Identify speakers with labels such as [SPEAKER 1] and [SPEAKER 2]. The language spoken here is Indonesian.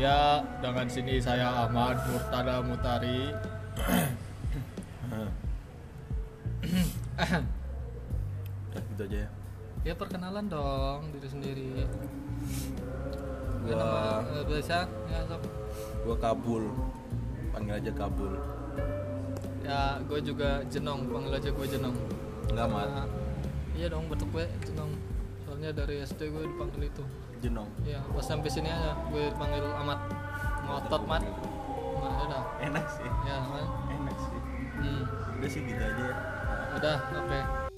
[SPEAKER 1] Ya, dengan sini saya Ahmad Murtada Mutari.
[SPEAKER 2] Udah gitu aja ya.
[SPEAKER 3] Ya perkenalan dong diri sendiri. Ya,
[SPEAKER 2] Gua,
[SPEAKER 3] nama eh, biasa ya sob.
[SPEAKER 2] gua Kabul. Panggil aja Kabul.
[SPEAKER 3] Ya gue juga Jenong, panggil aja gue Jenong.
[SPEAKER 2] Enggak mat.
[SPEAKER 3] Nah, iya dong betul gue Jenong. Soalnya dari SD gue dipanggil itu.
[SPEAKER 2] Jenong.
[SPEAKER 3] Ya pas sampai sini aja gue dipanggil Amat. Ngotot Mat. Nah, udah.
[SPEAKER 2] Enak sih.
[SPEAKER 3] Ya, kan?
[SPEAKER 2] Enak sih.
[SPEAKER 3] Hmm.
[SPEAKER 2] Udah sih gitu aja ya.
[SPEAKER 3] Udah, oke.